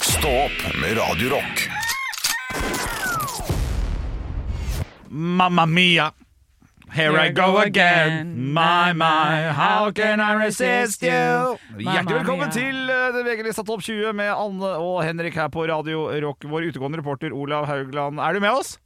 Stå opp med Radio Rock. Mamma mia. Here I go again. My, my, how can I resist you? Mamma Hjertelig velkommen mia. til eh, det VG-lista Topp 20 med Anne og Henrik her på Radio Rock. Vår utegående reporter Olav Haugland, er du med oss?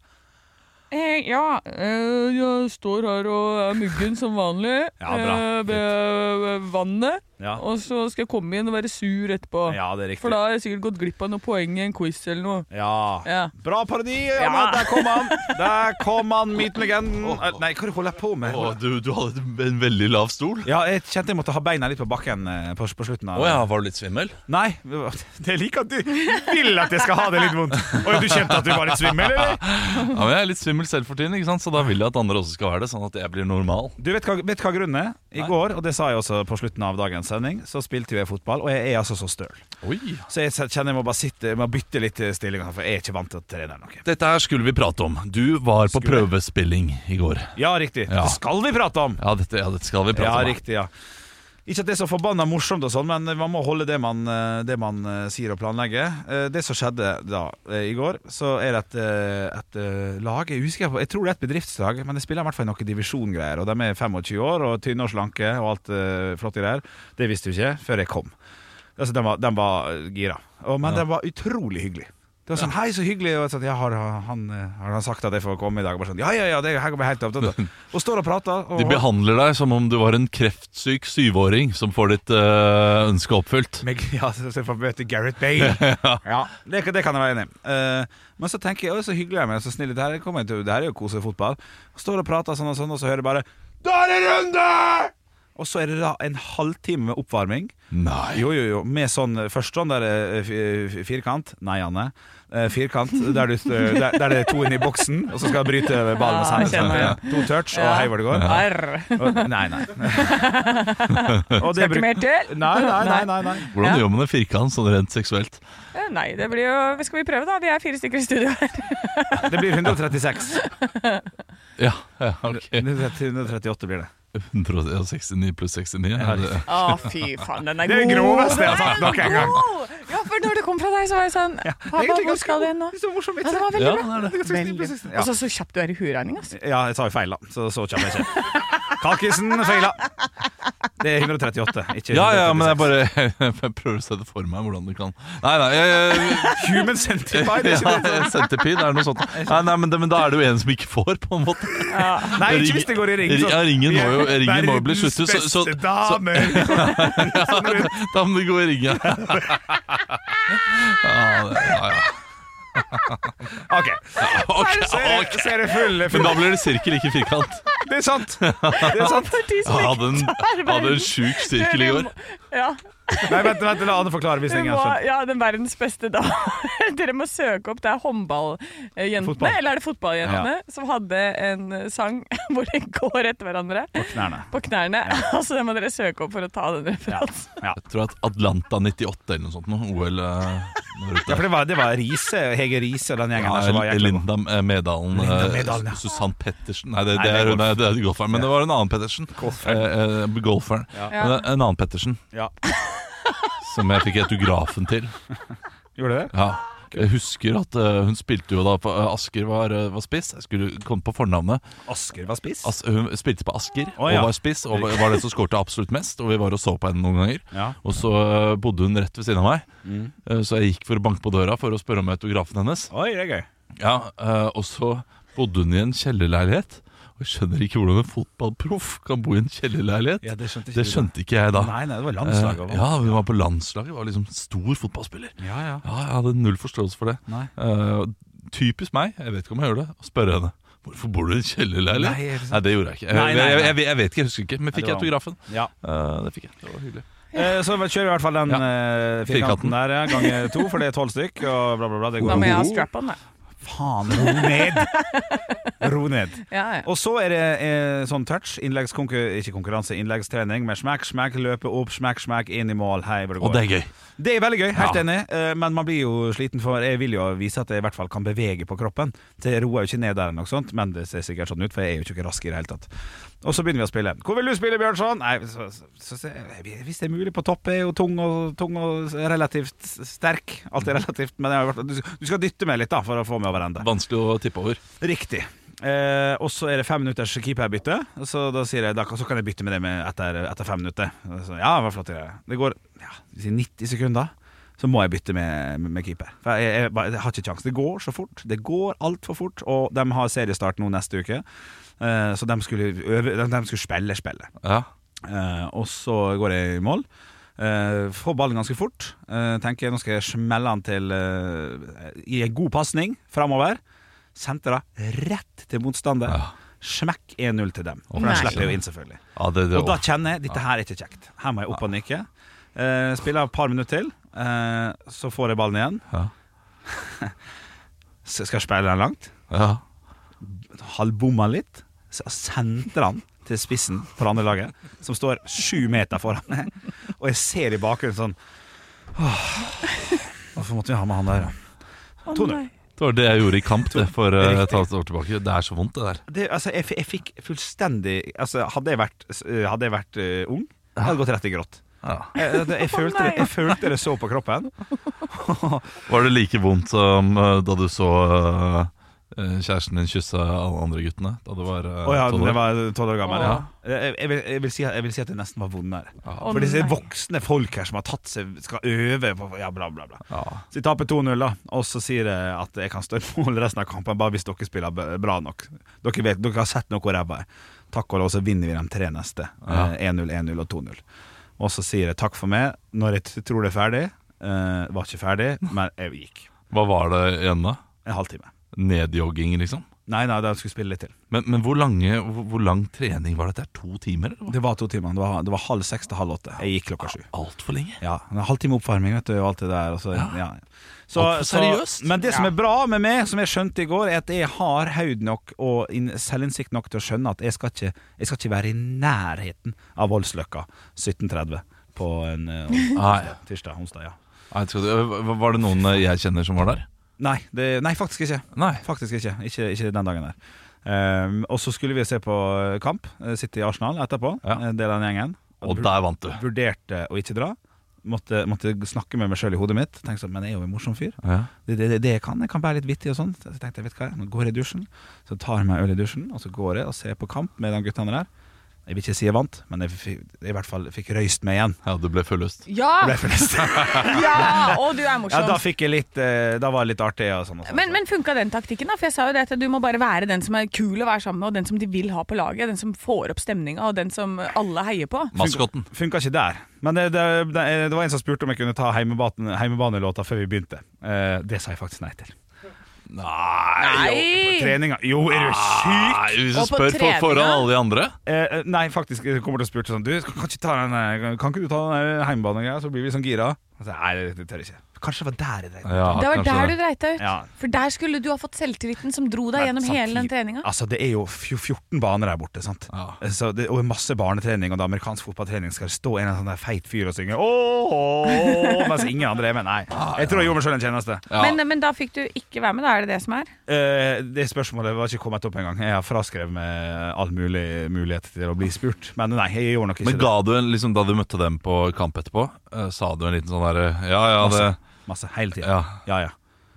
Eh, ja, eh, jeg står her og er muggen som vanlig Ja, bra. eh, ved vannet. Ja. Og så skal jeg komme inn og være sur etterpå. det er For da har jeg sikkert gått glipp av noen poeng i en quiz eller noe. Ja. Ja. Bra parodi. Anne. Ja. Der kom han. Der kom han, myten-legenden. Eh, Nei, hva holder jeg på med? Å, du, du hadde en veldig lav stol. Ja, jeg kjente jeg måtte ha beina litt på bakken eh, på, på slutten Å av ja, var du litt svimmel? Nei, jeg liker at du vil at jeg skal ha det litt vondt. Og du kjente at du var litt svimmel, eller? Ja, men Jeg er litt svimmel selv for tiden, ikke sant? så da vil jeg at andre også skal være det. Sånn at jeg blir normal. Du vet hva, vet hva grunnen er? I går, og det sa jeg også på slutten av dagens sending, så spilte jo jeg fotball, og jeg er altså så støl. Oi. Så jeg kjenner jeg må bare sitte, jeg må bytte litt stilling, her, for jeg er ikke vant til å trene noe. Dette her skulle vi prate om. Du var på prøvespilling i går. Ja, riktig. Ja. Det skal vi prate om! Ja, dette, ja, dette skal vi prate Ja, om. riktig, ja. Ikke at det er så forbanna morsomt, og sånn, men man må holde det man, eh, det man eh, sier og planlegger. Eh, Det som skjedde da eh, i går, så er det et, eh, et eh, lag Jeg husker på, jeg tror det er et bedriftslag, men det spiller i hvert fall noe divisjongreier. Og de er 25 år og tynne og slanke og alt eh, flotte greier. Det visste du ikke før jeg kom. Altså, de var, de var eh, gira. Og, men de var utrolig hyggelige. Det var sånn, hei, så hyggelig Og jeg sånn, ja, har, han, eh, har han sagt at jeg får komme i dag? Og Bare sånn, ja, ja, ja, det her går vi helt opp til Og står og prater og, De behandler deg som om du var en kreftsyk syvåring som får ditt øh, ønske oppfylt. Meg, ja, så så jeg får møte Gareth Bale. ja, det, kan- det kan jeg være enig i. Eh, men så tenker jeg, «Å, så hyggelig jeg med, så snill det her, kommer jeg til, det her er jo kose fotball. Står og prater sånn og sånn, og så hører jeg bare Da er det runde! Og så er det da en halvtime med oppvarming. Nei. Jo, jo, jo. Med sånn først sånn der eh, fi- firkant Nei, Anne. Eh, Firkant der, du, eh, der, der det er to inne i boksen, og så skal jeg bryte ballen med Ja, jeg sanden. kjenner To touch, og Ja. hei hvor det går. Arr. Og, nei, nei. Og Skal ikke bruk- mer til? Nei, nei, nei. nei, nei. Hvordan Ja. gjør man en firkant sånn rent seksuelt? Eh, Nei, det blir jo Skal vi prøve, da? Vi er fire stykker i studio her. Det blir 136. Ja, ja ok. 138 blir det. 169 pluss 69. Ja, det, Å, fy faen, den er god. Det er groveste jeg har sagt nok en gang. God! Ja, for når det kom fra deg, så var jeg sånn Pappa, hvor skal du hen nå? Så morsomt. Ja, det var veldig ja, bra. det er det. Veldig. Ja. Og så så kjapt du er i huregning, altså. Ja, jeg sa jo feil, da. Så så kommer jeg ikke. Kalkisen feila. Det er 138, ikke ja, ja, men jeg 136. bare jeg prøver å se det for meg hvordan det kan Nei, nei, jeg, Human centipede, Ja, ikke det? Centipede er noe sånt. Nei, nei men, det, men da er det jo en som ikke får, på en måte. Nei, ikke hvis det går i ring. Ja, ringen må jo, ringen må jo bli Verdens sluttet, så, så, beste så damer. da må det gå i ringen. Ja, det, ja, ja. Ok, Ok, så er det, ok. så er det full, Men full. da blir det sirkel, ikke firkant. Det er sant. Det er sant. For de Jeg som ikke hadde en, tar hadde en verdens- sjuk sirkel i går. Ja, Nei, vent, vent, la Anne forklare vi visningen. må, ja, den verdens beste da. Dere må søke opp. Det er håndballjentene, Fotball. eller er det fotballjentene, som hadde en eh, sang hvor de går etter hverandre På knærne. på knærne. Altså, den må dere søke opp for å ta den referansen. Ja. Jeg tror at Atlanta 98 eller noe sånt nå, OL eh, når Ja, ute. for det var, det var Riise, Hege Riise og den gjengen der som var Ja, jækla god. Linda eh, Medalen. Linda eh, Medalen, ja. Susann Pettersen Nei, det, det, Nei, det er er, golf. nei, det er golferen. Men det var en annen Pettersen. Golferen. Eh, eh, golferen. Men det er En annen Pettersen Ja. som jeg fikk autografen til. Gjorde det? Ja. Jeg husker at eh, hun spilte jo da på, eh, Asker var, eh, var spiss. Jeg skulle komme på fornavnet. Asker var spiss? As, hun spilte på Asker Å, ja. og var spiss, og var var den som skårte absolutt mest. Og vi var og så på henne noen ganger. Ja. Og så eh, bodde hun rett ved siden av meg, Mm. Eh, så jeg gikk for å banke på døra for å spørre om autografen hennes. Oi, det er gøy. Ja, eh, og så bodde hun i en kjellerleilighet. Og jeg skjønner ikke hvordan en fotballproff kan bo i en kjellerleilighet. Ja, det skjønte ikke det du da. skjønte ikke jeg da. Nei, nei, det var Eh, landslaget. også. ja, vi var på landslaget, var liksom stor fotballspiller. ja, ja. Ja, jeg hadde null forståelse for det. Nei. Eh, og typisk meg, jeg vet ikke om jeg gjør det, å spørre henne. Hvorfor bor du i en kjellerleilighet? Nei, er det sant? Nei, det gjorde jeg ikke. Jeg, Nei, nei, jeg, nei. jeg, jeg vet ikke, jeg husker ikke. Men fikk jeg Nei, det autografen? Ja. Eh, det fikk jeg. Det var hyggelig. Eh, Så kjører vi i hvert fall den Ja. eh, firkanten Firkanten. der, ja, ganger to, for det er tolv stykk, og bla, bla, bla. Det Da går. må jeg ha strap-on, da. Faen, ro ned! ro ned. Ja, ja. Og så er det eh, sånn touch, innleggskonkurranse, ikke konkurranse, innleggstrening med smekk, smekk, løpe opp, smekk, smekk, inn i mål, hei, hvor det Og det går. er gøy. Det er veldig gøy, helt Ja. enig, eh, men man blir jo sliten, for jeg vil jo vise at jeg i hvert fall kan bevege på kroppen. Så jeg roer jo ikke ned der, eller noe sånt, men det ser sikkert sånn ut, for jeg er jo ikke rask i det hele tatt. Og så begynner vi å spille. Hvor vil du spille, Bjørnson? Nei, så, så, så, så- Hvis det er mulig, på topp er jo tung og, tung og relativt sterk. Alt er relativt, men jeg har vært, du, du skal dytte meg litt da for å få meg over ende. Vanskelig å tippe over. Riktig. Eh, og så er det fem minutters keeperbytte, så da sier jeg da, så kan jeg bytte med det med etter, etter fem minutter. Så, ja, hva flott det. Det går ja, vi sier 90 sekunder, så må jeg bytte med, med keeper. For jeg, jeg, bare- jeg har ikke kjangs. Det går så fort. Det går altfor fort, og de har seriestart nå neste uke. Eh, så de skulle, øve, de, de skulle spille spillet. Ja. Eh, og så går jeg i mål. Eh, får ballen ganske fort. Eh, tenker jeg nå skal jeg smelle han til eh, i en god pasning framover. Sentrer rett til motstander. Ja. Smekk 1-0 til dem. For Nei. den slipper jeg jo inn, selvfølgelig. Ja, det, det, Og da kjenner jeg dette her er ikke kjekt. Her må jeg opp og nikke. Eh, spiller et par minutter til, eh, så får jeg ballen igjen. ja. S- Skal jeg spille den langt. Ja. halvbomma litt, så sendte han til spissen for det andre laget, som står sju meter foran meg. Og jeg ser i bakgrunnen sånn Åh, Hvorfor måtte vi ha med han der, da? Å, 2-0. nei. Det var det jeg gjorde i kamp det, for Det er eh, riktig. et halvt år tilbake. Det er så vondt, det der. Det, altså, jeg, f- jeg fikk fullstendig altså, Hadde jeg vært, eh, hadde jeg vært eh, ung, hadde jeg gått rett i grått. Ja. Jeg, jeg, jeg, følte, det- jeg følte det så på kroppen. Var det like vondt som eh, da du så eh, kjæresten din kysse alle andre guttene? Da du var eh, Å ja, tolv år? jeg var tolv år gammel. Ja. Åh. Jeg, jeg, vil, jeg, vil si, jeg vil si at det nesten var vondere. Ja. Å, For disse nei. voksne folk her som har tatt seg, skal øve på Ja, bla, bla, bla. Ja. Så jeg taper 2-0, da. Og så sier jeg at jeg kan stå i mål resten av kampen, bare hvis dere spiller b- bra nok. Dere vet, dere har sett noe ræva her. Takk og lov, så vinner vi de tre neste. Ja. Eh, 1-0, 1-0 og 2-0. Og så sier jeg takk for meg når jeg t- tror det er ferdig. Eh, var ikke ferdig, men jeg gikk. Hva var det igjen da? En halvtime. Nedjogging, liksom? Nei, nei, de skulle spille litt til. Men, men hvor, lange, hvor, hvor lang trening var dette? To timer? eller hva? Det var to timer. Det var, det var halv seks til halv åtte. Jeg gikk klokka sju. Altfor lenge. Ja, en halvtime oppvarming vet du, og alt det der. Og så, ja. Så, Alt for seriøst. Så, men det som er bra med meg, som jeg skjønte i går, er at jeg har haud nok og inn- selvinnsikt nok til å skjønne at jeg skal ikke, jeg skal ikke være i nærheten av Voldsløkka 17.30 på en eh, Nei. tirsdag, onsdag. ja Nei, jeg trodde- hva- Var det noen eh, jeg kjenner som var der? Nei, det, nei faktisk ikke. Nei. Faktisk ikke. Ikke, ikke den dagen der. Ehm, og så skulle vi se på eh, kamp, eh, sitte i Arsenal etterpå, Ja. en del av den gjengen. Og der vant du. Vurderte å ikke dra. Måtte, måtte snakke med meg sjøl i hodet mitt. Tenkte sånn, Men jeg er jo en morsom fyr. Ja. det, det, det- det jeg kan, jeg kan være litt vittig og sånn. Så jeg tenkte, vet du hva, nå går jeg i dusjen, så tar jeg meg øl i dusjen, og så går jeg og ser på kamp med de guttene der. Jeg vil ikke si jeg vant, men jeg fikk, jeg i hvert fall fikk røyst meg Ah. igjen. ja, du ble fulløst. Det ble Ja! fullest. ja! Å, du er Ja, da morsom. fikk jeg litt eh, Da var det litt artig og sånn. Og sånn. Men, men funka den taktikken, da? For jeg sa jo det at du må bare være den som er kul å være sammen med, og den som de vil ha på laget. Den som får opp stemninga, og den som alle heier på. Maskotten. Funka ikke der. Men eh, det, det, det, det var en som spurte om jeg kunne ta heimebaten- heimebanelåta før vi begynte. Eh, det sa jeg faktisk nei til. På Nei! treninga Jo, er du Ah, syk? Nei, hvis Og du på spør for, treninga? foran alle de andre Eh, nei, faktisk jeg kommer til å spørre sånn Du, kan ikke, ta den, eh, kan ikke du ta den eh, heimebanegreia, så blir vi sånn gira? Og så, nei, det- det tør jeg ikke. Kanskje det var der jeg dreide ja, Det var kanskje der du det. dreit deg ut. Ja. For der skulle du ha fått selvtilliten som dro deg Men gjennom hele den samtidig- treninga. Altså, det er jo fjo- 14 baner der borte, sant? Eh, Ja. Så det, og masse barnetrening, og det er amerikansk fotballtrening skal det stå en eller annen sånn der feit fyr og synge Ååå, mens ingen andre er med. Nei. Ah, Jeg tror jeg gjorde meg sjøl en tjeneste. Ja. Men, eh, men da fikk du ikke være med, da er det det som er? Eh, det spørsmålet var ikke kommet opp engang. Jeg har fraskrevet meg all mulig mulighet til å bli spurt. Men nei, jeg gjorde nok ikke Men ga du en, liksom, da du møtte dem på kamp etterpå, eh, sa du en liten sånn derre Ja, ja, det, det. Masse. Hele tiden. ja, ja. ja.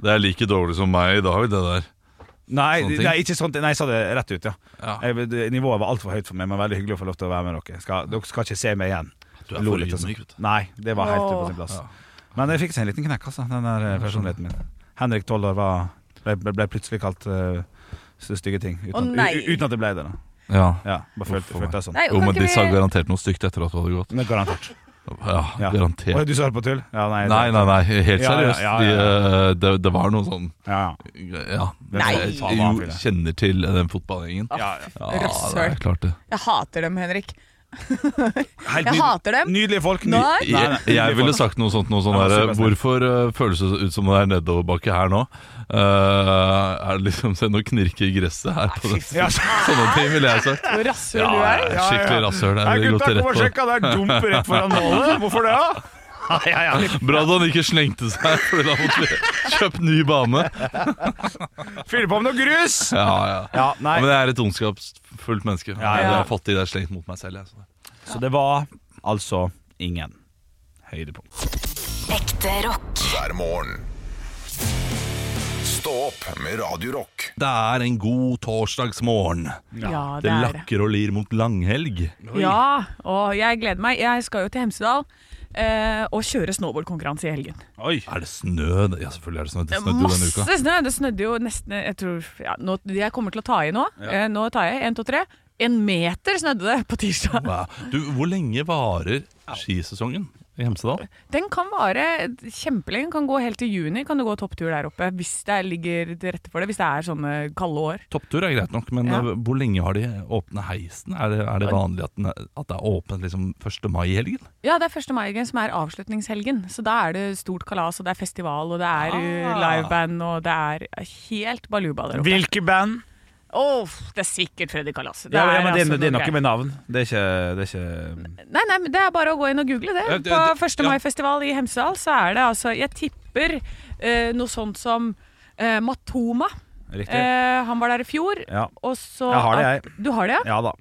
det er like dårlig som meg i dag, det der. Nei, Sånne ting. nei, ikke sånt. Nei, jeg sa det rett ut, ja. Ja. Jeg, det- nivået var altfor høyt for meg, men veldig hyggelig å få lov til å være med dere. Skal, dere skal ikke se meg igjen. Du Lo litt og sånn. Nei, det var helt på sin plass. Ja. Men jeg fikk seg en liten knekk, altså, den der eh, personligheten min. Henrik Toller var, ble, ble, ble plutselig kalt eh, så stygge ting. Uten, Å, at- nei. u- uten at det ble det. da Ja. Ja, bare følte, Uff, følte jeg sånn. Nei, Jo, kan men ikke de sa vi- garantert noe stygt etter at du hadde gått. Men garantert. Ja, Ja. garantert. Å, du svarer på tull? Ja, nei. det- Nei, nei, nei, helt Ja, ja, seriøst. ja, ja, De, eh, det, det var noe sånn Ja, ja. Ja. Nei. Jeg, jo, kjenner til den fotballgjengen. Ja, ja. Ja, det er klart det. Jeg hater dem, Henrik. Helt Jeg nyd- hater dem. Nydelige folk. ny- Nei. Nei, Jeg, nei, jeg nydelige ville folk. sagt noe sånt noe sånn Ja, der, supersnill. Hvorfor eh, føles det ut som det er nedoverbakke her nå? Eh, er det liksom Se, nå knirker gresset her på den Ja, så- Sånne ting ville jeg sagt. Hvor rasshøl Ja, du er. jeg er skikkelig rasshøl. Jeg Nei, ville gått gutta, rett kom og på sjekk, han der dumper rett foran målet. Hvorfor det, da? ja, ja. Bra at han ikke slengte seg, for da måtte vi kjøpt ny bane. Fyll på med noe grus! Ja, ja. Ja, Ja, nei. men jeg er et ondskapsfullt menneske. Ja, Jeg ja. har fått de der slengt mot meg selv. Jeg, så. Så det var altså ingen høydepunkt. Ekte rock. hver morgen. Stå opp med Radio Rock. Det er en god torsdagsmorgen. Ja, Det det er det. lakker og lir mot langhelg. Ja, og jeg gleder meg. Jeg skal jo til Hemsedal eh, og kjøre snowboardkonkurranse i helgen. Oi. Er det snø? Ja, selvfølgelig er det snø. Det snødde jo denne uka. Masse snø! Det snødde jo nesten Jeg tror ja, nå, Jeg kommer til å ta i nå. Eh, nå tar jeg. Én, to, tre. En meter snødde det på tirsdag. Wow. Du, hvor lenge varer skisesongen i Hemsedal? Den kan vare kjempelenge. Kan gå helt til juni. Kan du gå topptur der oppe hvis det ligger til rette for det. Hvis det er sånne kalde år. Topptur er greit nok, men Ja. eh, hvor lenge har de åpne heisen? Er det, er det vanlig at, den er, at det er åpent liksom 1. mai i helgen? Ja, det er 1. mai-helgen som er avslutningshelgen. Så da er det stort kalas, og det er festival, og det er uh, liveband, og det er helt baluba der oppe. Hvilke band? Åh, det er sikkert Freddy Kalas. Ja, ja, men det, altså er- det er noe greier. med navn. Det er ikke, det er ikke Nei, nei, men det er bare å gå inn og google det. Ja, det- På det- 1. ja. mai-festival i Hemsedal så er det altså Jeg tipper eh, noe sånt som eh, Matoma. riktig. Eh, han var der i fjor, Ja. og så Jeg har det, jeg. Du har det, ja? ja da.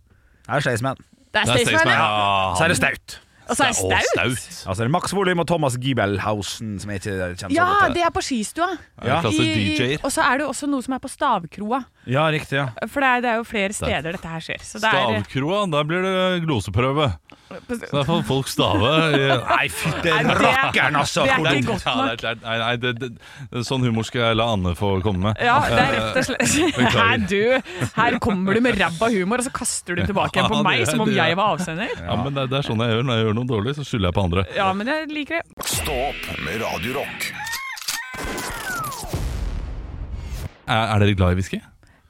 Her er Staysman. Det er Staysman, ja. Så er det Staut. Og så er det Sånn Staut. Ja, så er det Max Volum og Thomas Gibelhausen, som eh, jeg ikke kjenner Ja, så godt til. det er på skistua. Ja. Klasse I- i- DJ-er. Og så er det jo også noe som er på Stavkroa. Ja, riktig. ja For det er, det er jo flere steder dette her skjer. Så det er, Stavkroa, der blir det gloseprøve. Så der får folk stave. i- Nei, fytti Nei, det- Rakkeren, altså! det er hvordan- ikke godt Ja, nok. det er- nei, nei, det, det, sånn humor skal jeg la Anne få komme med. Ja, det er rett og slett Beklager. Her, du, her kommer du med ræva humor, og så kaster du tilbake igjen på Ja, det meg er- som om det er- jeg var avsender. Ja, men det, det er sånn jeg gjør. Når jeg gjør noe dårlig, så skylder jeg på andre. Ja, men jeg liker det. Stå opp med Radio Rock Er, er dere glad i whisky?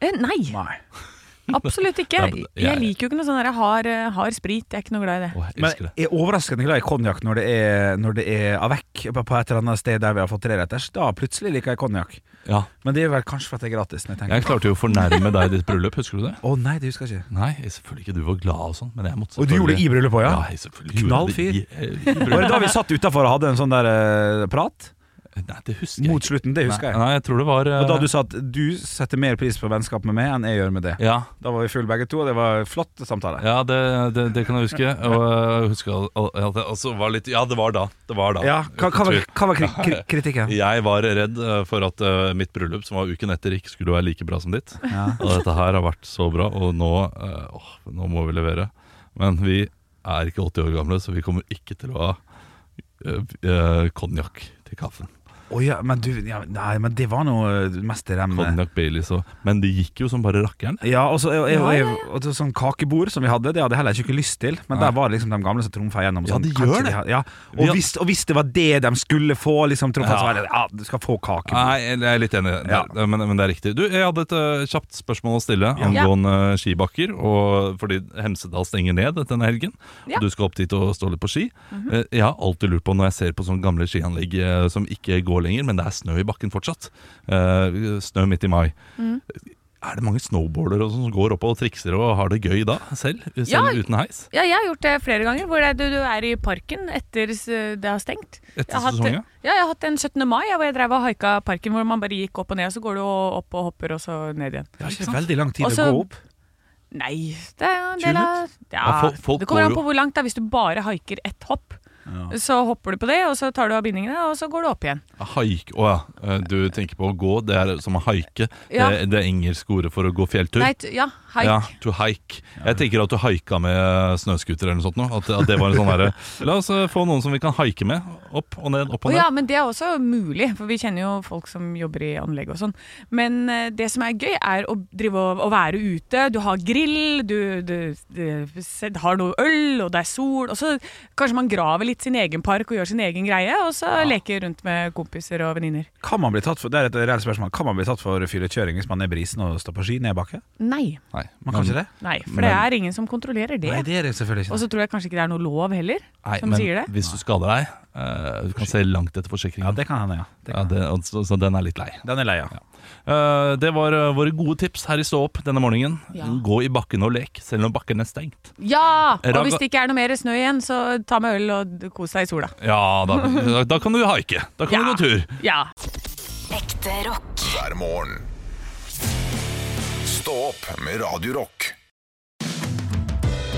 Eh, Nei, Nei. absolutt ikke. Nei, men jeg- Jeg liker jo ikke noe sånn der hard, hard sprit. Jeg er ikke noe glad i det. Å, jeg Men elsker det. jeg er overraskende glad i konjakk når det er, når det er avec på på et eller annet sted der vi har fått treretters. Da plutselig liker jeg konjakk. Ja, Men det er vel kanskje for at det er gratis. Når jeg tenker jeg klarte jo å fornærme deg i ditt bryllup, husker du det? Å nei, det husker jeg ikke. Nei, jeg- selvfølgelig ikke. Du var glad og sånn, men jeg måtte Og du gjorde det i bryllupet òg, Ja, ja? jeg selvfølgelig gjorde Knall det fyr. i- eh, i Var det bryllupet. da vi satt utafor og hadde en sånn der eh, prat? Nei, det husker jeg Mot ikke. slutten, det husker Nei, jeg. nei, jeg tror det var eh, Og da du sa at du setter mer pris på vennskap med meg enn jeg gjør med det. Ja, Da var vi fulle begge to, og det var flott samtale. ja det, det, det kan jeg huske. Og eh, jeg husker al- al- at jeg også var litt Ja, det var da. Det var da. Ja, hva, hva, var, hva var kri kri kritikken? Jeg var redd eh, for at eh, mitt bryllup, som var uken etter, ikke skulle være like bra som ditt. Ja. Og dette her har vært så bra, og nå, eh, åh, nå må vi levere. Men vi er ikke 80 år gamle, så vi kommer ikke til å ha uh, konjakk til kaffen. Å ja, men du ja, Nei, men det var noe eh, mest i remmet. Konjakk Baileys og Men det gikk jo som bare rakkeren. Ja, og så og- og- Ja, ja, og så sånn kakebord som vi hadde, det hadde jeg heller ikke lyst til. Men Nei. der var det liksom de gamle som trumfa gjennom. Ja, sånn, de kanskje gjør det. ha- ja. Vi og, had- hvis, og hvis det var det de skulle få, liksom, trumfa, så Ja. var det ja, du skal få kakebord. Nei, jeg er litt enig, Ja. det, men, men det er riktig. Du, Jeg hadde et eh, kjapt spørsmål å stille Ja. angående skibakker. Og fordi Hemsedal stenger ned denne helgen, Ja. Mhm. og du skal opp dit og stå litt på ski. Eh, Jeg har alltid lurt på, når jeg ser på sånne gamle skianlegg eh, som ikke går lenger, men det er snø i bakken fortsatt, eh, snø midt i mai. Mm. Er det mange snowboardere og sånn som går opp og trikser og har det gøy da, selv? Selv Ja. uten heis? Ja, jeg har gjort det flere ganger, hvor det er, du, du er i parken etter s- det har stengt. Etter Jeg har hatt- sesongen? Ja, jeg har hatt en 17. mai ja, hvor jeg drev og haika parken, hvor man bare gikk opp og ned, og så går du og- opp og hopper, og så ned igjen. Det er ikke veldig lang tid Og så- å gå opp. Nei, det er jo en del av ja, Ja, folk- folk Det kommer går an jo- på hvor langt. da Hvis du bare haiker ett hopp, så hopper du på det, og så tar du av bindingene, og så går du opp igjen. Haik, å ja. eh, Du tenker på å gå, det er som å haike. Ja. Det, det er engelske ordet for å gå fjelltur. Nei, t- ja, haik. Ja, to hike. Jeg tenker at du haika med snøskuter eller noe sånt. nå, At, at det var en sånn derre La oss eh, få noen som vi kan haike med. Opp og ned, opp Å og ned. ja, men det er også mulig, for vi kjenner jo folk som jobber i anlegg og sånn. Men eh, det som er gøy, er å, drive og, å være ute. Du har grill, du, du, du se- har noe øl, og det er sol. Og så kanskje man graver litt sin egen park og gjør sin egen greie, og så leker rundt med kompiser og venninner. Kan man bli tatt for, det er et reelt spørsmål Kan man bli tatt for fyllekjøring hvis man er brisen og står på ski nedbakke? Nei. Nei, Man men- kan ikke det? Nei, for Men- det er ingen som kontrollerer det. Nei, det er det selvfølgelig ikke. Og så tror jeg kanskje ikke det er noe lov heller, Nei, som men sier det. hvis du skader deg, eh, du kan se langt etter ja, forsikringen. det kan hende, ja. Det Ja, kan. det, altså, så den er litt lei. Den er lei av. Eh, det var eh, våre gode tips her i Stå opp denne morgenen. Ja. Gå i bakken og lek, selv om bakken er stengt. Ja! Og Raga- hvis det ikke er noe mer snø igjen, så ta med øl og kos deg i sola. Ja, da, da, da kan du haike. Da kan Ja. du gå tur. Ja. Ekte rock. hver morgen. Stå opp med Radio Rock.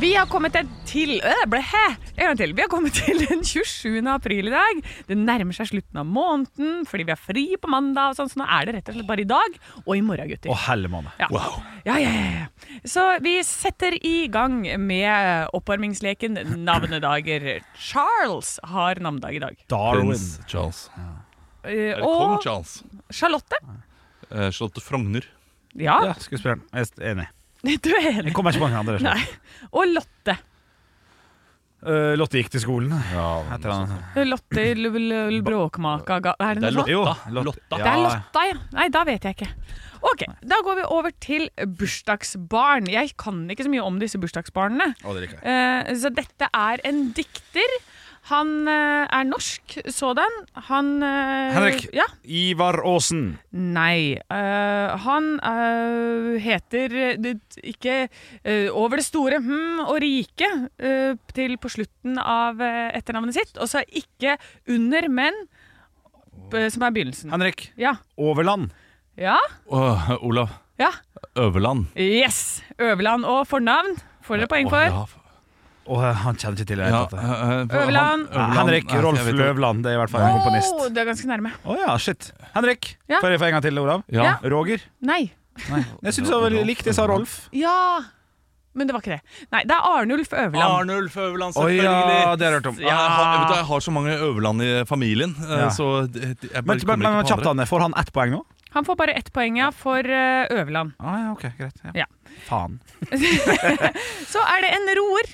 Vi har kommet til- til øh, ble hæ, en gang til. Vi har kommet til den 27. april i dag. Det nærmer seg slutten av måneden fordi vi har fri på mandag, og sånn, så nå er det rett og slett bare i dag og i morgen, gutter. Å, hellemann. Ja. Ja, ja, ja, ja. Så vi setter i gang med oppvarmingsleken Navnedager. Charles har navnedag i dag. Darwin. Prins Charles. Eh, Eller kong Og Charles. Charlotte. Eh, Charlotte Frogner. Ja, Ja, skuespilleren. Jeg er enig. du er enig. Jeg kommer ikke på mange andre. Nei. Og Lotte. Eh, Lotte gikk til skolen. Heter han. Lotte l- l- l- Bråkmaka ga- Er det noe sånt? Jo, Lotta. Lotta. Det er Lotta, ja. Nei, da vet jeg ikke. Ok, Da går vi over til bursdagsbarn. Jeg kan ikke så mye om disse bursdagsbarnene. Å, det liker jeg. Eh, så dette er en dikter. Han eh, er norsk sådan. Han eh, Henrik. Ja. Ivar Aasen. Nei. øh, han øh, heter øh, det, ikke øh, Over det store hm og rike øh, til på slutten av øh, etternavnet sitt. Og så ikke under, men øh, som er begynnelsen. Henrik. Ja. Overland. Ja. Åh, Olav ja. Øverland. Yes! Øverland og fornavn får dere poeng for. Åh, Å, han kjenner ikke til det. ja. Ja, Ja. eh, eh, han- Øverland. Henrik Nei, jeg Rolf vet ikke. Løvland. Det er i hvert fall en komponist. Åh, det er ganske nærme. Å ja, shit. Henrik. Ja. Får jeg få en gang til, Olav? Ja. Ja. Roger. Nei. Nei. Jeg syns jeg var likt det, sa Rolf. Ja Men det var ikke det. Nei, det er Arnulf Øverland. Arnulf Øverland, Å selvfølgelig. ja, det har jeg hørt om. Ah, Jeg, har, jeg, vet, du, jeg har så mange Øverland i familien, eh, Ja. så det- det- jeg bare Men, men, kommer men ikke på kjapt, andre. Anne. Får han ett poeng nå? Han får bare ett poeng ja, for øh, Øverland. Å Ah, ja, ok, greit. Ja. Ja. Faen. Så er det en roer.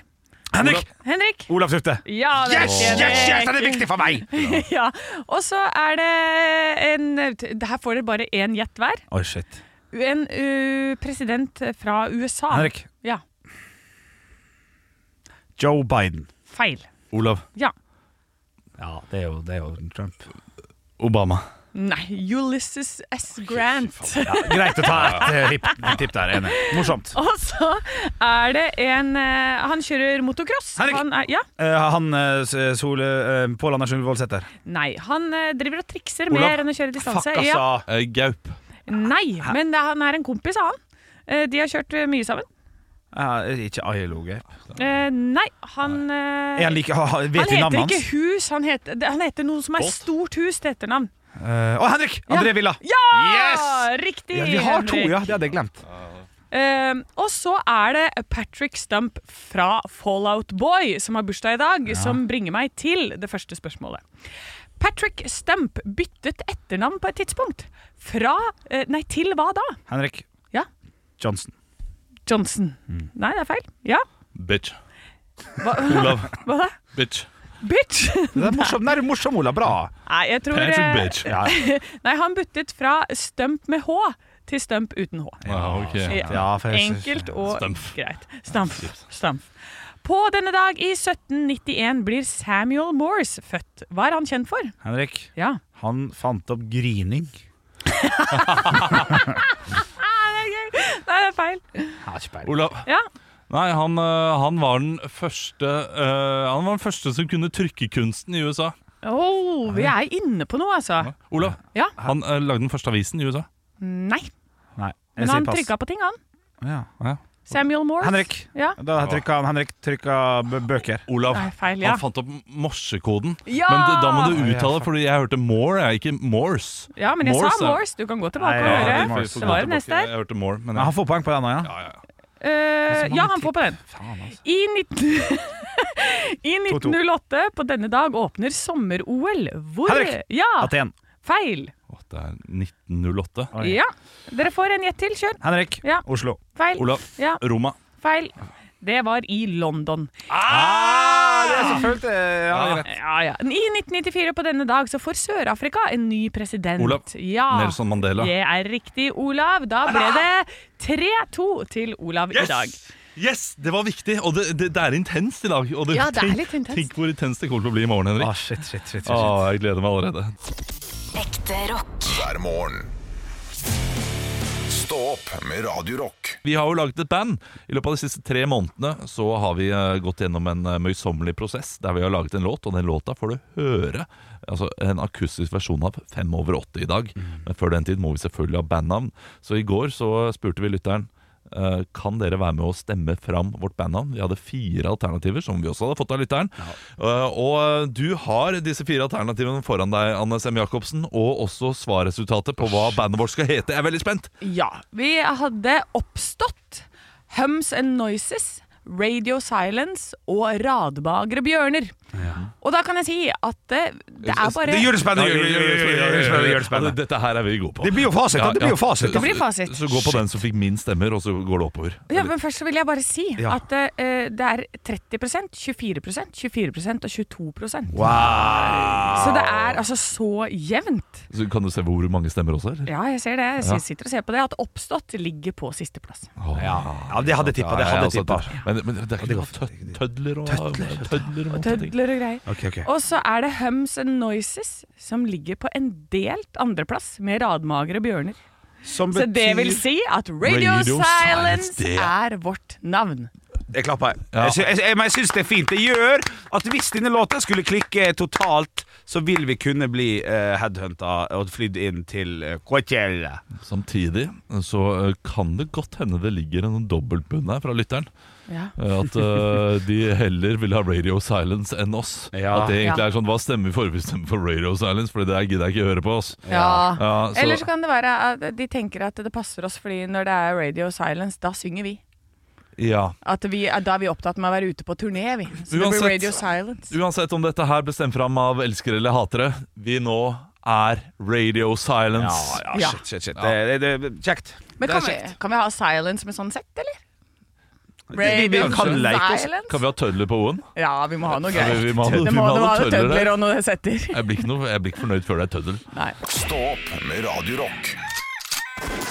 Henrik! Henrik. Olav Tufte. Ja, det er Yes, riktig, yes, yes! Henrik. Den er viktig for meg! ja. Og så er det en det Her får dere bare én gjett hver. Oi, shit. En ø, president fra USA. Henrik. Ja. Joe Biden. Feil. Olav Ja. Ja, det er jo, det er jo Trump. Obama. Nei. Ulysses S. Grant. Ja, greit å ta et eh, hipp- tipp der. Enig. Morsomt. Og så er det en ø, Han kjører motocross. Henrik. Han er, ja. Eh, han eh, s- Sole eh, Pål Andersen Voldsæter. Nei. Han ø, driver og trikser Olav. mer enn å kjøre Fuck, distanse. altså. Ja. Eh, Gaup. Nei, men det, er- han er en kompis av han. Eh, De har kjørt ø, mye sammen. Eh, ikke ILO-gaup. Eh, Nei, han ø, Er han like, ha, ha- vet vi han heter navnet ikke hans? hus, han heter, det- han heter noe som er stort hus til etternavn. Eh, Å, Henrik! André Villa. Ja! Yes! Riktig! Ja, vi har to, Henrik. ja. Det hadde jeg glemt. Eh, og så er det Patrick Stump fra Fallout Boy som har bursdag i dag, som bringer meg til det første spørsmålet. Patrick Stump byttet etternavn på et tidspunkt. Fra eh, Nei, til hva da? Henrik Ja. Johnson. Johnson. Mm. Nei, det er feil. Ja. Bitch. Hva, Olav. hva da? Bitch. Bitch! Det er morsom, Nei, det er morsom, Ola. Bra. Nei, jeg tror Patrick eh, Bitch. Ja, Nei, han byttet fra Stump med H til Stump uten H. ok. Ja, for jeg- Enkelt og Stamf. greit. Stamf. Stamf. På denne dag i 1791 blir Samuel Morse født. Hva er han kjent for? Henrik, Ja. han fant opp grining. Nei, det er feil. Olav. Ja. Nei, han, eh, han var den første eh, Han var den første som kunne trykkekunsten i USA. Oh, vi er inne på noe, altså. Olav. Ja. Han eh, lagde den første avisen i USA. Nei. Nei, jeg Men sier han pass. trykka på ting, han. Ja. Samuel Morse. Henrik. Ja. Da trykka han Henrik trykka b- bøker. Olav. Nei, feil, ja. Han fant opp morsekoden. Ja! Men det, da må du Ja, uttale, fuck. fordi jeg hørte more, jeg, ikke Morse. Ja, men jeg Morse, sa ja. Morse. Du kan gå tilbake Nei, og ja, vi høre. får- vi får det gå var det neste her. Jeg hørte more, men Men han får poeng på den òg, ja? Eh, ja, han får på den. Faen, altså. I, 19... I 1908, på denne dag, åpner sommer-OL. Hvor Henrik! Ja, Aten. feil. Å, det er 1908. Oi. Ja. Dere får en gjett til. Kjør. Henrik. Ja. Oslo. Feil. Olav. Ja, Roma. feil. Det var i London. Ah! det er så følte jeg ja, det er rett. Ja, ja. I 1994 på denne dag så får Sør-Afrika en ny president. Olav ja. Nelson Mandela. Det er riktig, Olav. Da ble det 3-2 til Olav i dag. Yes! Det var viktig, og det, det, det er intenst i dag. Og Ja, det er tenk- litt intenst. Tenk hvor intenst det kommer til å bli i morgen, Henrik. Ah, shit, shit, shit, shit, shit. Å, jeg gleder meg allerede. Ekte rock. hver morgen. Stå opp med Radio Rock. Vi har jo laget et band. I løpet av de siste tre månedene så har vi eh, gått gjennom en eh, møysommelig prosess der vi har laget en låt, og den låta får du høre. Altså En akustisk versjon av Fem over åtte i dag. Men før den tid må vi selvfølgelig ha bandnavn. Så i går så spurte vi lytteren eh, kan dere være med å stemme fram vårt bandnavn. Vi hadde fire alternativer som vi også hadde fått av lytteren. Eh, Og eh, du har disse fire alternativene foran deg, Anne Sem Jacobsen, og også svarresultatet på hva bandet vårt skal hete. Jeg er veldig spent! Ja. Vi hadde Oppstått, Hums and Noises, Radio Silence og Radbagre bjørner. Og da kan jeg si at eh, det er bare Det gjør det spennende! gjør det- gjør det- gjør det- gjør det- gjør det- gjør det Ja, spennende. Dette her er vi gode på. Det blir jo fasit, da. Ja, Det blir jo ja. fasit. da. Det blir fasit. Så gå på den som fikk minst stemmer, og så går det oppover. Ja, men Først så vil jeg bare si Ja. at eh, det er 30 24 24 og 22 Wow! Så det er altså så jevnt. Så kan du se hvor mange stemmer også, eller? Ja, jeg ser det. Jeg sitter og ser på det. At Oppstått ligger på sisteplass. Åh. Ja, ja det hadde jeg tippa. Det Ja, hadde altså, jeg tippa. Men, men det er ikke noe tød- tødler og tødler, og masse ting. Tødler og greier. Ok, ok. Og så er det Hums and Noises som ligger på en delt andreplass med radmagre bjørner. Som Så det vil betyr- si at Radio, Radio Silence, Silence, det- er vårt navn. Jeg klapper. jeg. Ja. Jeg, sy- jeg, jeg, men jeg syns det er fint. Det gjør at hvis denne låta skulle klikke totalt, så vil vi kunne bli uh, headhunta og flydd inn til eh, Coachella. Samtidig så eh, kan det godt hende det ligger en dobbeltbunn her fra lytteren. Ja. Eh, At eh, de heller vil ha Radio Silence enn oss. Ja. At det egentlig Ja. er sånn Hva stemmer vi for? Vi stemmer for Radio Silence, for det der gidder jeg ikke høre på. oss Ja. Ja, så- Eller så kan det være at de tenker at det passer oss, fordi når det er Radio Silence, da synger vi. Ja At vi da er vi opptatt med å være ute på turné, vi. Så det blir Uansett- Radio Silence. Uansett om dette her bestemt fram av elskere eller hatere, vi nå er Radio Silence. Ja, ja, Ja. shit, shit, shit. Det, det, det, kjekt. Men det kan er vi, kjekt. kan vi ha silence med sånn sett, eller? vi- vi kan leke oss. silence? Kan vi ha tødler på O-en? Ja, vi må ha noe Ja, vi- greier. vi må ha noe- det vi må, må ha det må noe ha noe tødler tødler der. og noe setter. Jeg blir ikke, noe, jeg blir ikke fornøyd før det er tøddel. Nei. Stå opp med Radio Rock.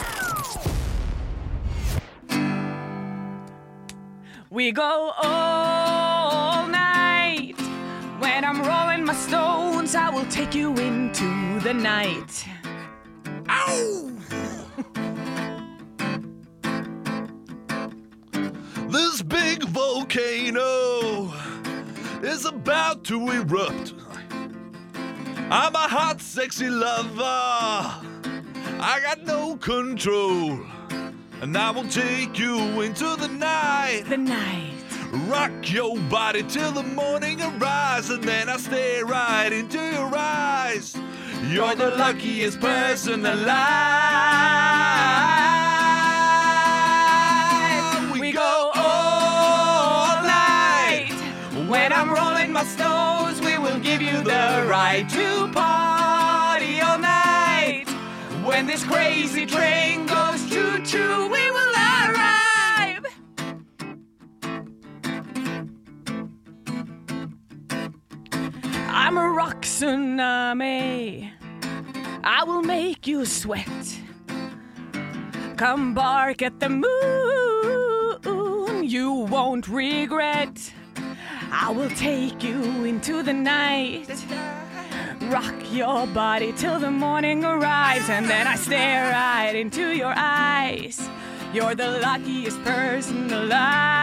We go all night. When I'm rolling my stones, I will take you into the night. This big volcano is about to erupt. I'm a hot, sexy lover. I got no control. And I will take you into the night. The night. Rock your body till the morning arrives, and then I stare right into your eyes. You're the luckiest person alive. We go all night. When I'm rolling my stones, we will give you the right to party all night. When this crazy train goes choo choo, we will arrive. I'm a rock tsunami. I will make you sweat. Come bark at the moon, you won't regret. I will take you into the night. Rock your body till the morning arrives, and then I stare right into your eyes. You're the luckiest person alive.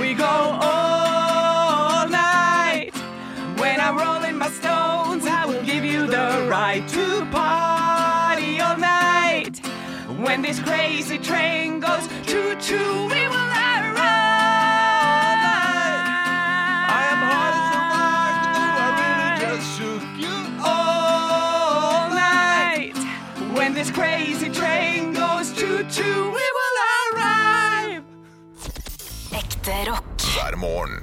We go all night. When I'm rolling my stones, I will give you the right to party all night. When this crazy train goes choo choo, we will arrive. I am hard as a rock, though I really just shook you all night. When this crazy train goes choo choo, we will arrive. Ekte rock. hver morgen.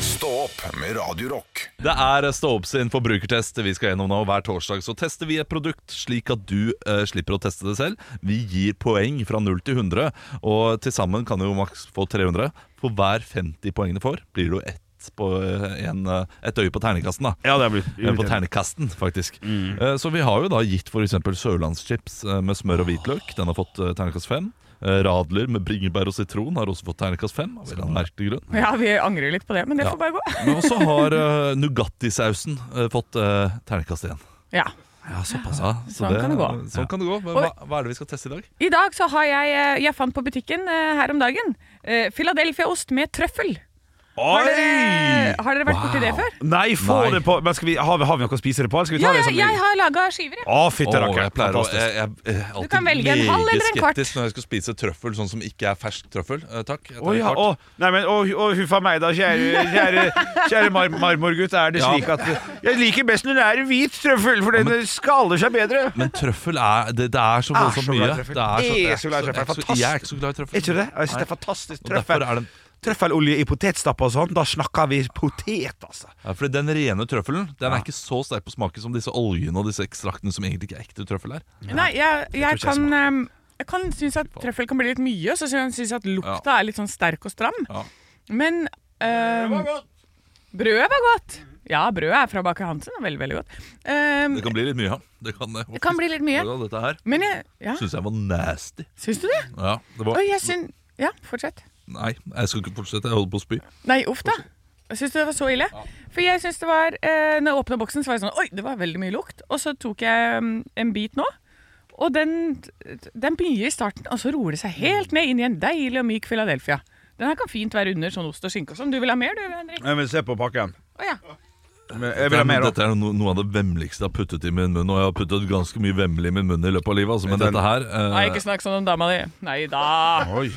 Stå opp med Radio Rock. Det er Stå opp sin forbrukertest vi skal gjennom nå. Hver torsdag så tester vi et produkt slik at du eh, slipper å teste det selv. Vi gir poeng fra 0 til 100, og til sammen kan du jo maks få 300. For hver 50 poeng du får, blir det jo ett på eh, en, eh, et øye på ternekasten, da. Ja, det blir Eh, På ternekasten, faktisk. Eh, Så vi har jo da gitt f.eks. sørlandschips eh, med smør og hvitløk. Den har fått eh, ternekast 5. Radler med bringebær og sitron har også fått ternekast 5. Av en eller annen merkelig grunn. Ja, vi angrer litt på det, men det Ja. får bare gå. Men også har uh, Nugatti-sausen eh, fått uh, ternekast igjen. Ja. Ja, såpass. Ja, så Sånn kan det gå. Sånn kan det gå. Men Og- hva, hva er det vi skal teste i dag? I dag så har jeg eh, Jeg fant på butikken eh, her om dagen eh, Philadelphia-ost med trøffel. Har dere, har dere vært borti det før? Nei, få Nei. det på Men skal vi, har, vi, har vi noe å spise det på? eller Skal vi ta Ja, det ja, som jeg har laga skiver. jeg. Å, fytte Åh, jeg rakker. pleier å- Fantastisk. jeg- jeg- jeg er alltid kan velge en halv meget eller en kvart. skeptisk Når jeg skal spise trøffel sånn som ikke er fersk trøffel. Eh, takk. Jeg tar Å en ja, kvart. å, nei, men å, å, huffa meg da, kjære, kjære, kjære mar marmorgutt. Er det Ja. slik at Jeg liker best når det er hvit trøffel, for den skaler seg bedre. Men trøffel er Det, det er så Ah, voldsomt så glad mye. i trøffel. Det er så, Jeg er jeg, så glad i jeg, trøffel. er ikke så- jeg er ikke så glad i trøffel. Er ikke det? Jeg synes det er fantastisk. Og derfor Trøffel, er den, trøffelolje i potetstappa og sånn, da snakker vi potet, altså. ja, fordi den rene trøffelen Den er ikke så sterk på smaken som disse oljene og disse ekstraktene som egentlig ikke er ekte trøffel er. Nei, jeg, jeg tror ikke jeg kan eh, jeg kan synes at trøffel kan bli litt mye, og så synes jeg at lukta er litt sånn sterk og stram. Ja. Men eh, brødet var godt. Ja, brødet er fra Baker Hansen. og Veldig, veldig godt. Eh, Det kan bli litt mye, ja. Det kan, det, det kan bli litt mye. Ja, dette her Men jeg ja, syns jeg var nasty. Syns du det? Ja, det var Oi, jeg syn... Ja, fortsett. Nei, jeg skal ikke fortsette. Jeg holder på å spy. Nei, uff da. Syns du det var så ille? For jeg syns det var eh, Når jeg åpna boksen, så var jeg sånn Oi, det var veldig mye lukt. Og så tok jeg mm, en bit nå. Og den, den begynner i starten, og så roer det seg helt ned inn i en deilig og myk Philadelphia. Den her kan fint være under sånn ost og skinke og sånn. Du vil ha mer, du, Henrik? Jeg vil se på pakken. Å ja. Jeg vil Ja, ha men mer opp. dette er no, noe av det vemmeligste jeg har puttet i min munn. Og jeg har puttet ganske mye vemmelig i min munn i løpet av livet. Altså, men Den- dette her eh, Nei, ikke snakk sånn om dama di. Nei da. Oi.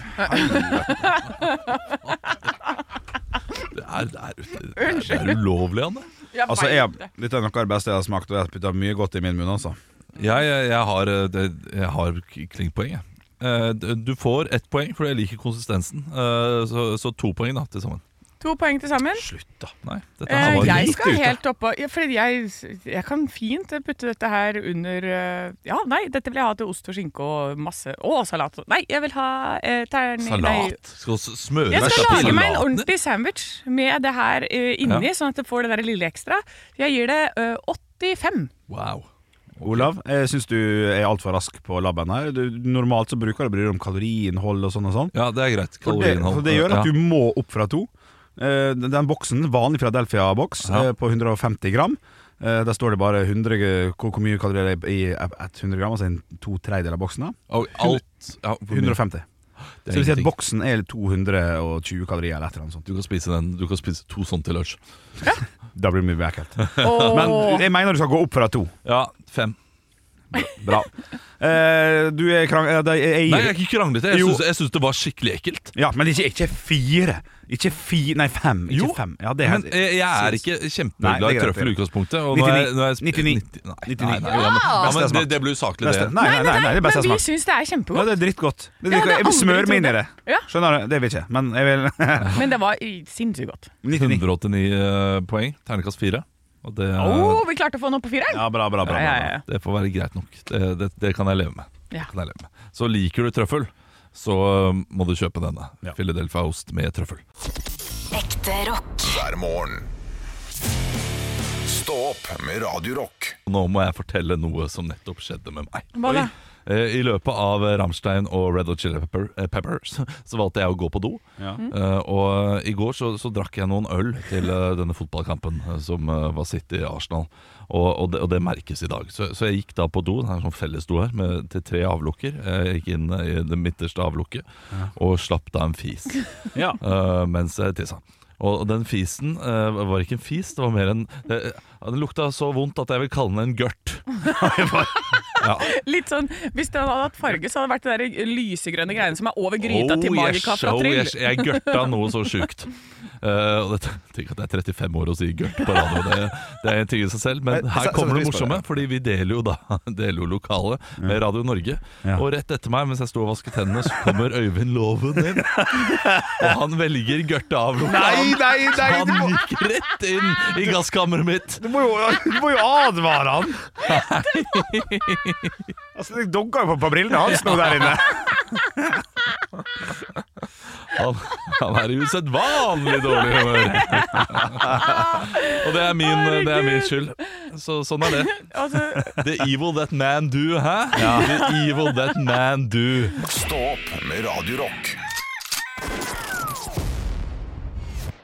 det, er, det, er, det, er, det er ulovlig, Anne. Jeg Altså, vet jeg, det. dette er noe av det beste jeg har smakt, og jeg har putta mye godt i min munn, altså. Jeg, jeg, jeg har, eh, det, jeg har k- klingpoeng, jeg. Eh, d- Du får ett poeng fordi jeg liker konsistensen. Eh, Så, så to poeng da, til sammen. To poeng til sammen. Slutt, da. Nei, dette her Eh, var jeg litt skal ute. helt oppå ja, For jeg, jeg kan fint putte dette her under eh, Ja, nei, dette vil jeg ha til ost og skinke og masse Og salat. Nei, jeg vil ha eh, tern... nei. Salat. Skal s- smøre Jeg deg skal på lage meg en salaten din. ordentlig sandwich med det her eh, inni, Ja. sånn at det får det der lille ekstra. Jeg gir det eh, 85. Wow. Olav, jeg syns du er altfor rask på labben her. Du, normalt så bruker du å bry deg om kaloriinnhold og sånn og sånn. Ja, det er greit. For det, Kaloriinnhold. for det gjør at Ja. du må opp fra to. Eh, den- Den boksen, vanlig Philadelphia-boks, Ja. eh, på 150 gram. Eh, Der står det bare 100, g- hvor, hvor mye kalorier det er i 100 gram, altså en to tredjedeler av boksen. da. Og alt ja, hvor mye? Det 150. Så er det vil si at ingenting. boksen er 220 kalorier eller et eller annet sånt. Du kan spise den. Du kan spise to sånne til lunsj. Da blir det mye ekkelt. Og Men jeg mener du skal gå opp fra to. Ja, fem. Bra. Eh, Du er krang... eh, det- Jeg Nei, jeg gir er ikke kranglete. Jeg Jo. syns- Jeg syns det var skikkelig ekkelt. Ja, men ikke, ikke fire. Ikke fire Nei, fem. Ikke Jo, fem. Ja, det er Men eh, jeg, jeg er ikke Nei, det kjempeglad er i greit, trøffel i det. utgangspunktet. Og når jeg, når jeg, 99. 90 Nei, nei, 99. nei, ja, men, ja, Beste jeg men det, smakte. det blir jo saklig, Neste. det. Nei, nei, nei, nei, det er beste men jeg vi har smakt. syns det er Ja, kjempegodt. det er drittgodt. Det Ja, er det drittgodt. er Jeg vil aldri smøre meg inn i trodd. det. Ja. Skjønner du? Det vil jeg ikke, men jeg vil Men det var i- sinnssykt godt. 99. 189 eh, poeng. Ternekast fire. Og det, Å, vi klarte å få den opp på fireren! Ja, bra, bra, bra. bra, Ja, bra. ja, det får være greit nok. Det, det, det kan jeg leve med. Ja. Det Kan jeg leve med. Så liker du trøffel, så øh, må du kjøpe denne. Ja. Philadelphia ost med trøffel. Ekte rock. hver morgen. Stå opp med Radio Rock. Nå må jeg fortelle noe som nettopp skjedde med meg. Hva da? Eh, I løpet av Ramstein og Red Hot Chili Pepper, eh, Peppers så valgte jeg å gå på do. Ja. Mm. Eh, og i går så, så drakk jeg noen øl til eh, denne fotballkampen eh, som eh, var City i Arsenal. Og, og, det, og det merkes i dag. Så, så jeg gikk da på do, det er en sånn fellesdo her, med, til tre avlukker. Jeg gikk inn i det midterste avlukket og slapp da en fis Ja. eh, mens jeg tissa. Og og den fisen eh, var ikke en eh, fis, det var mer en det, Den lukta så vondt at jeg vil kalle den en gørt. Ja. Litt sånn, Hvis den hadde hatt farge, så hadde det vært de der eh, lysegrønne greiene som er over gryta til Oh, Magica yes, fra oh, Tryll. yes, Jeg gørta noe så sjukt. Eh, og det, tenk at jeg er 35 år og sier gørt på radio. Det, det er en ting i seg selv. Men Men, her så- kommer så det pris på morsomme, fordi vi deler jo da Deler jo lokale med Radio Norge. Ja. Og rett etter meg, mens jeg sto og vasket hendene, så kommer Øyvind Loven inn. Og han velger gørta av Nei, lokalen. nei, nei! Han Du må, gikk rett inn i gasskammeret mitt. du må, jo, du må jo advare han! Altså, Det dogger jo på, på brillene hans nå der inne. Han, han er i usedvanlig dårlig humør. Og det er min, det er min skyld. Så sånn er det. Altså, The evil that man do, hæ? The evil that man do. Stå opp med Radio Rock.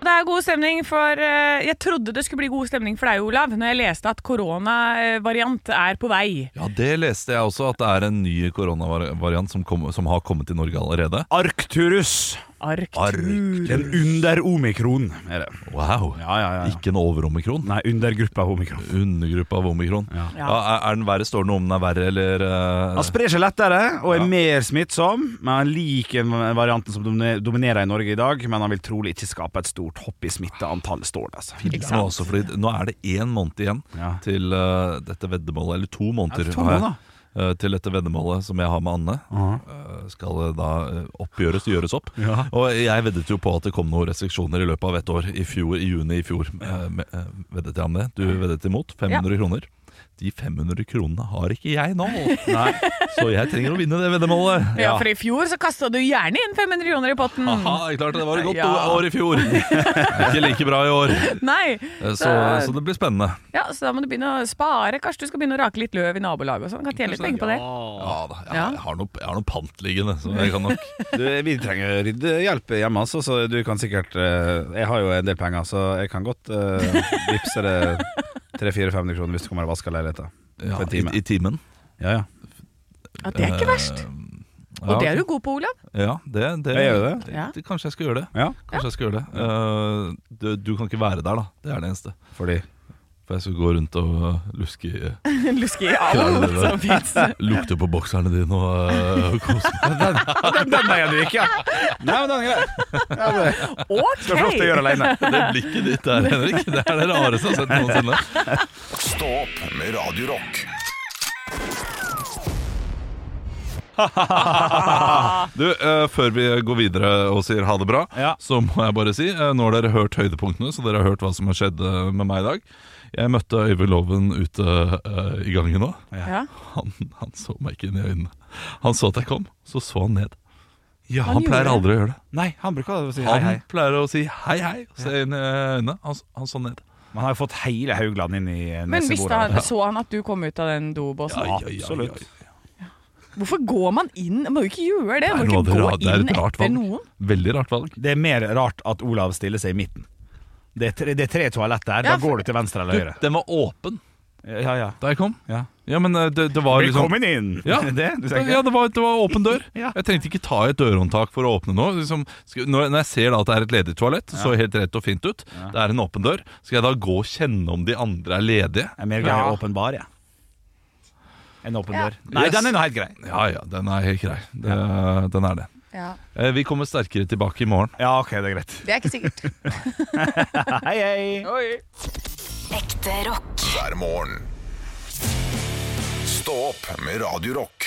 det er god stemning for eh, Jeg trodde det skulle bli god stemning for deg, Olav, når jeg leste at koronavariant er på vei. Ja, det leste jeg også, at det er en ny koronavariant som, kom, som har kommet til Norge allerede. Arcturus. Arktur. Den under omikron, er det. Wow. Ja, ja, ja. Ikke en overomikron. Nei, under gruppa omikron. Undergruppe av omikron. Ja. er, er den verre? Står det noe om den er verre, eller eh, Han sprer seg lettere og er Ja. mer smittsom, men han liker varianten som domine- dominerer i Norge i dag. Men han vil trolig ikke skape et stort hopp i smitteantallet, står det. altså. Nå, også, fordi, nå er det én måned igjen Ja. til eh, dette veddemålet, eller to måneder, Ja, to har jeg, måneder. eh, til dette veddemålet som jeg har med Anne. eh, skal det da eh, oppgjøres, gjøres opp. Ja. Og jeg veddet jo på at det kom noen restriksjoner i løpet av et år. I, fjor, i juni i fjor eh, med- eh, veddet jeg om det. Du veddet imot. 500 kroner. De 500 kronene har ikke jeg nå, Nei. så jeg trenger å vinne det veddemålet. Ja, for i fjor så kasta du gjerne inn 500 kroner i potten. Aha, klart det var et godt Ja. år i fjor. Ikke like bra i år. Nei. Eh, Så, så det blir spennende. Ja, så da må du begynne å spare. Kanskje du skal begynne å rake litt løv i nabolaget og sånn. Kan tjene litt penger på det. Ja da, jeg, Ja. jeg har noe, jeg har noe pant liggende, så jeg kan nok Du, vi trenger ryddehjelp hjemme, altså, så du kan sikkert eh, Jeg har jo en del penger, så jeg kan godt eh, vippse det 300-400 kroner hvis du kommer og vasker leiligheten. ja, For en time. I, i timen. Eh, Ja, ja. Ja, det er ikke verst. Og det er du god på, Olav. Ja, det, det, Jeg gjør det. Ja. det- Kanskje jeg skal gjøre det. ja. Kanskje jeg skal gjøre det. Eh, du, du kan ikke være der, da. Det er det eneste. Fordi For jeg skal gå rundt og eh, luske i- Luske i alt som fins. Lukte på bokserne dine og eh, kose meg. Den veien du gikk, ja! Nei, men den er grei. Ja, det skal jeg få lov til å gjøre OK! alene. Det blikket ditt der, Henrik, det er det rareste jeg har sett noensinne. Stå opp med Radio Rock. Du, eh, Før vi går videre og sier ha det bra, Ja. så må jeg bare si eh, Nå har dere hørt høydepunktene, så dere har hørt hva som har skjedd eh, med meg i dag. Jeg møtte Øyvind Loven ute eh, i gangen nå. Ja. Han, han så meg ikke inn i øynene. Han så at jeg kom, så så han ned. Ja, Han Han, gjorde pleier det. aldri å gjøre det. Nei, han bruker å si hei, Han hei. pleier å si hei, hei, og se inn i øynene. Han, han så ned. Man har jo fått hele Haugland inn i Men visste neseborene. han, så han at du kom ut av den dobåsen? Ja, ja, ja, Absolutt. ja, Hvorfor går man inn? Man må jo ikke gjøre det. Man noe må av det ikke ra- det gå er inn et rart etter valg. noen. Veldig rart valg. Det er mer rart at Olav stiller seg i midten. Det er tre, det er tre toaletter her. Ja, Da går du til venstre eller høyre. Den var åpen Ja, ja. da jeg kom. ja. Ja, men eh, det, det var liksom Velkommen inn! ja, det, du tenker. ja det, var, det var åpen dør. Ja. Jeg trengte ikke ta i et dørhåndtak for å åpne nå. Liksom, skal, når, når jeg ser da at det er et ledig toalett, det så helt rett og fint ut, det er en åpen dør, skal jeg da gå og kjenne om de andre er ledige? Jeg er mer glad i åpen bar, jeg. En åpen dør. Nei, Yes. den er nå helt grei. Ja ja, den er helt grei. Det, Den er det. Ja. Eh, Vi kommer sterkere tilbake i morgen. Ja, ok, det er greit. Det er ikke sikkert. Hei, hei. Ekte rock. hver morgen. Stå opp med Radio Rock.